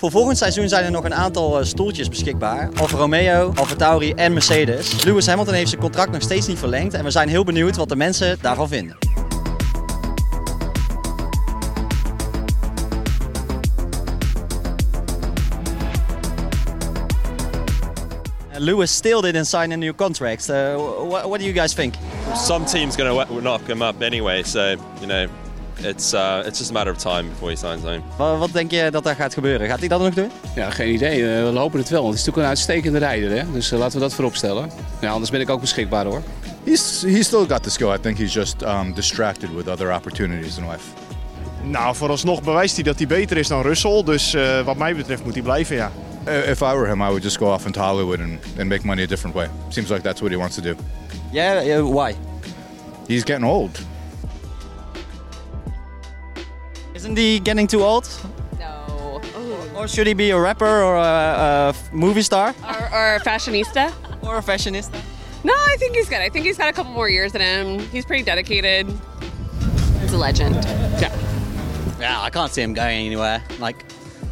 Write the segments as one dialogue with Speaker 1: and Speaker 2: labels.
Speaker 1: Voor volgend seizoen zijn er nog een aantal eh, stoeltjes beschikbaar. Alfa Romeo, Alfa Tauri en Mercedes. Lewis Hamilton heeft zijn contract nog steeds niet verlengd en we zijn heel benieuwd wat de mensen daarvan vinden. Eh, Lewis still didn't sign a new contract. Eh, wh- what do you guys think?
Speaker 2: Some team's going to knock him up anyway, so you know, it's uh, it's just a matter of time before he signs home.
Speaker 1: Wa- Wat denk je dat daar gaat gebeuren? Gaat hij dat nog doen?
Speaker 3: Ja, geen idee. Eh, we hopen het wel. Want het is natuurlijk een uitstekende rijder. Hè? Dus eh, laten we dat voorop stellen. Ja, anders ben ik ook beschikbaar hoor.
Speaker 4: He's he's still got the skill. I think he's just um, distracted with other opportunities in life.
Speaker 5: Nou, vooralsnog bewijst hij dat hij beter is dan Russell. Dus eh, wat mij betreft moet hij blijven, ja.
Speaker 4: I- If I were him, I would just go off into Hollywood and, and make money a different way. Seems like that's what he wants to do.
Speaker 1: Yeah, eh, why?
Speaker 4: He's getting old.
Speaker 1: Isn't he getting too old?
Speaker 6: No.
Speaker 1: Or should he be a rapper or a, a f- movie star
Speaker 6: Or, or fashionista?
Speaker 1: or a fashionista?
Speaker 6: No, I think he's good. I think he's got a couple more years in him. He's pretty dedicated. He's a legend. Yeah.
Speaker 1: Yeah, I can't see him going anywhere. Like,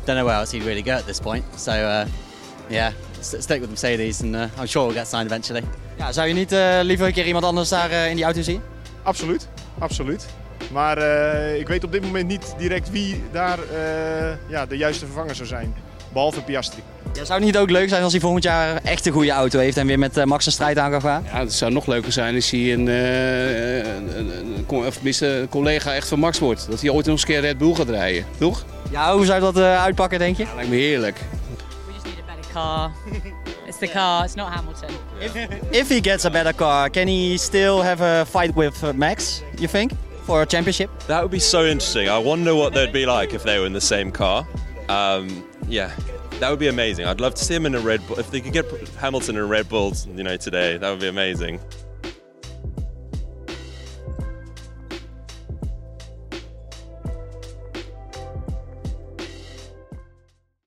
Speaker 1: don't know where else he'd really go at this point. So, uh, yeah, st- stick with Mercedes and uh, I'm sure we'll get signed eventually. Ja, zou je niet eh, liever een keer iemand anders daar eh, in die auto zien?
Speaker 5: Absoluut, absoluut. Maar eh, ik weet op dit moment niet direct wie daar eh, ja, de juiste vervanger zou zijn. Behalve Piastri.
Speaker 1: Ja, zou het niet ook leuk zijn als hij volgend jaar echt een goede auto heeft en weer met eh, Max een strijd aan kan gaan?
Speaker 3: Ja, het zou nog leuker zijn als hij een, eh, een, een- een co- of tenminste een collega echt van Max wordt. Dat hij ooit nog eens een keer Red Bull gaat rijden. Toch?
Speaker 1: Ja, hoe zou dat eh, uitpakken, denk je?
Speaker 3: Lijkt me heerlijk.
Speaker 7: We just need a better car. it's the car, it's not Hamilton.
Speaker 1: If he gets a better car, can he still have a fight with eh, Max, you think? For a championship?
Speaker 2: That would be so interesting. I wonder what they'd be like if they were in the same car. Um, yeah, that would be amazing. I'd love to see him in a Red Bull. If they could get Hamilton in a Red Bull, you know, today, that would be amazing.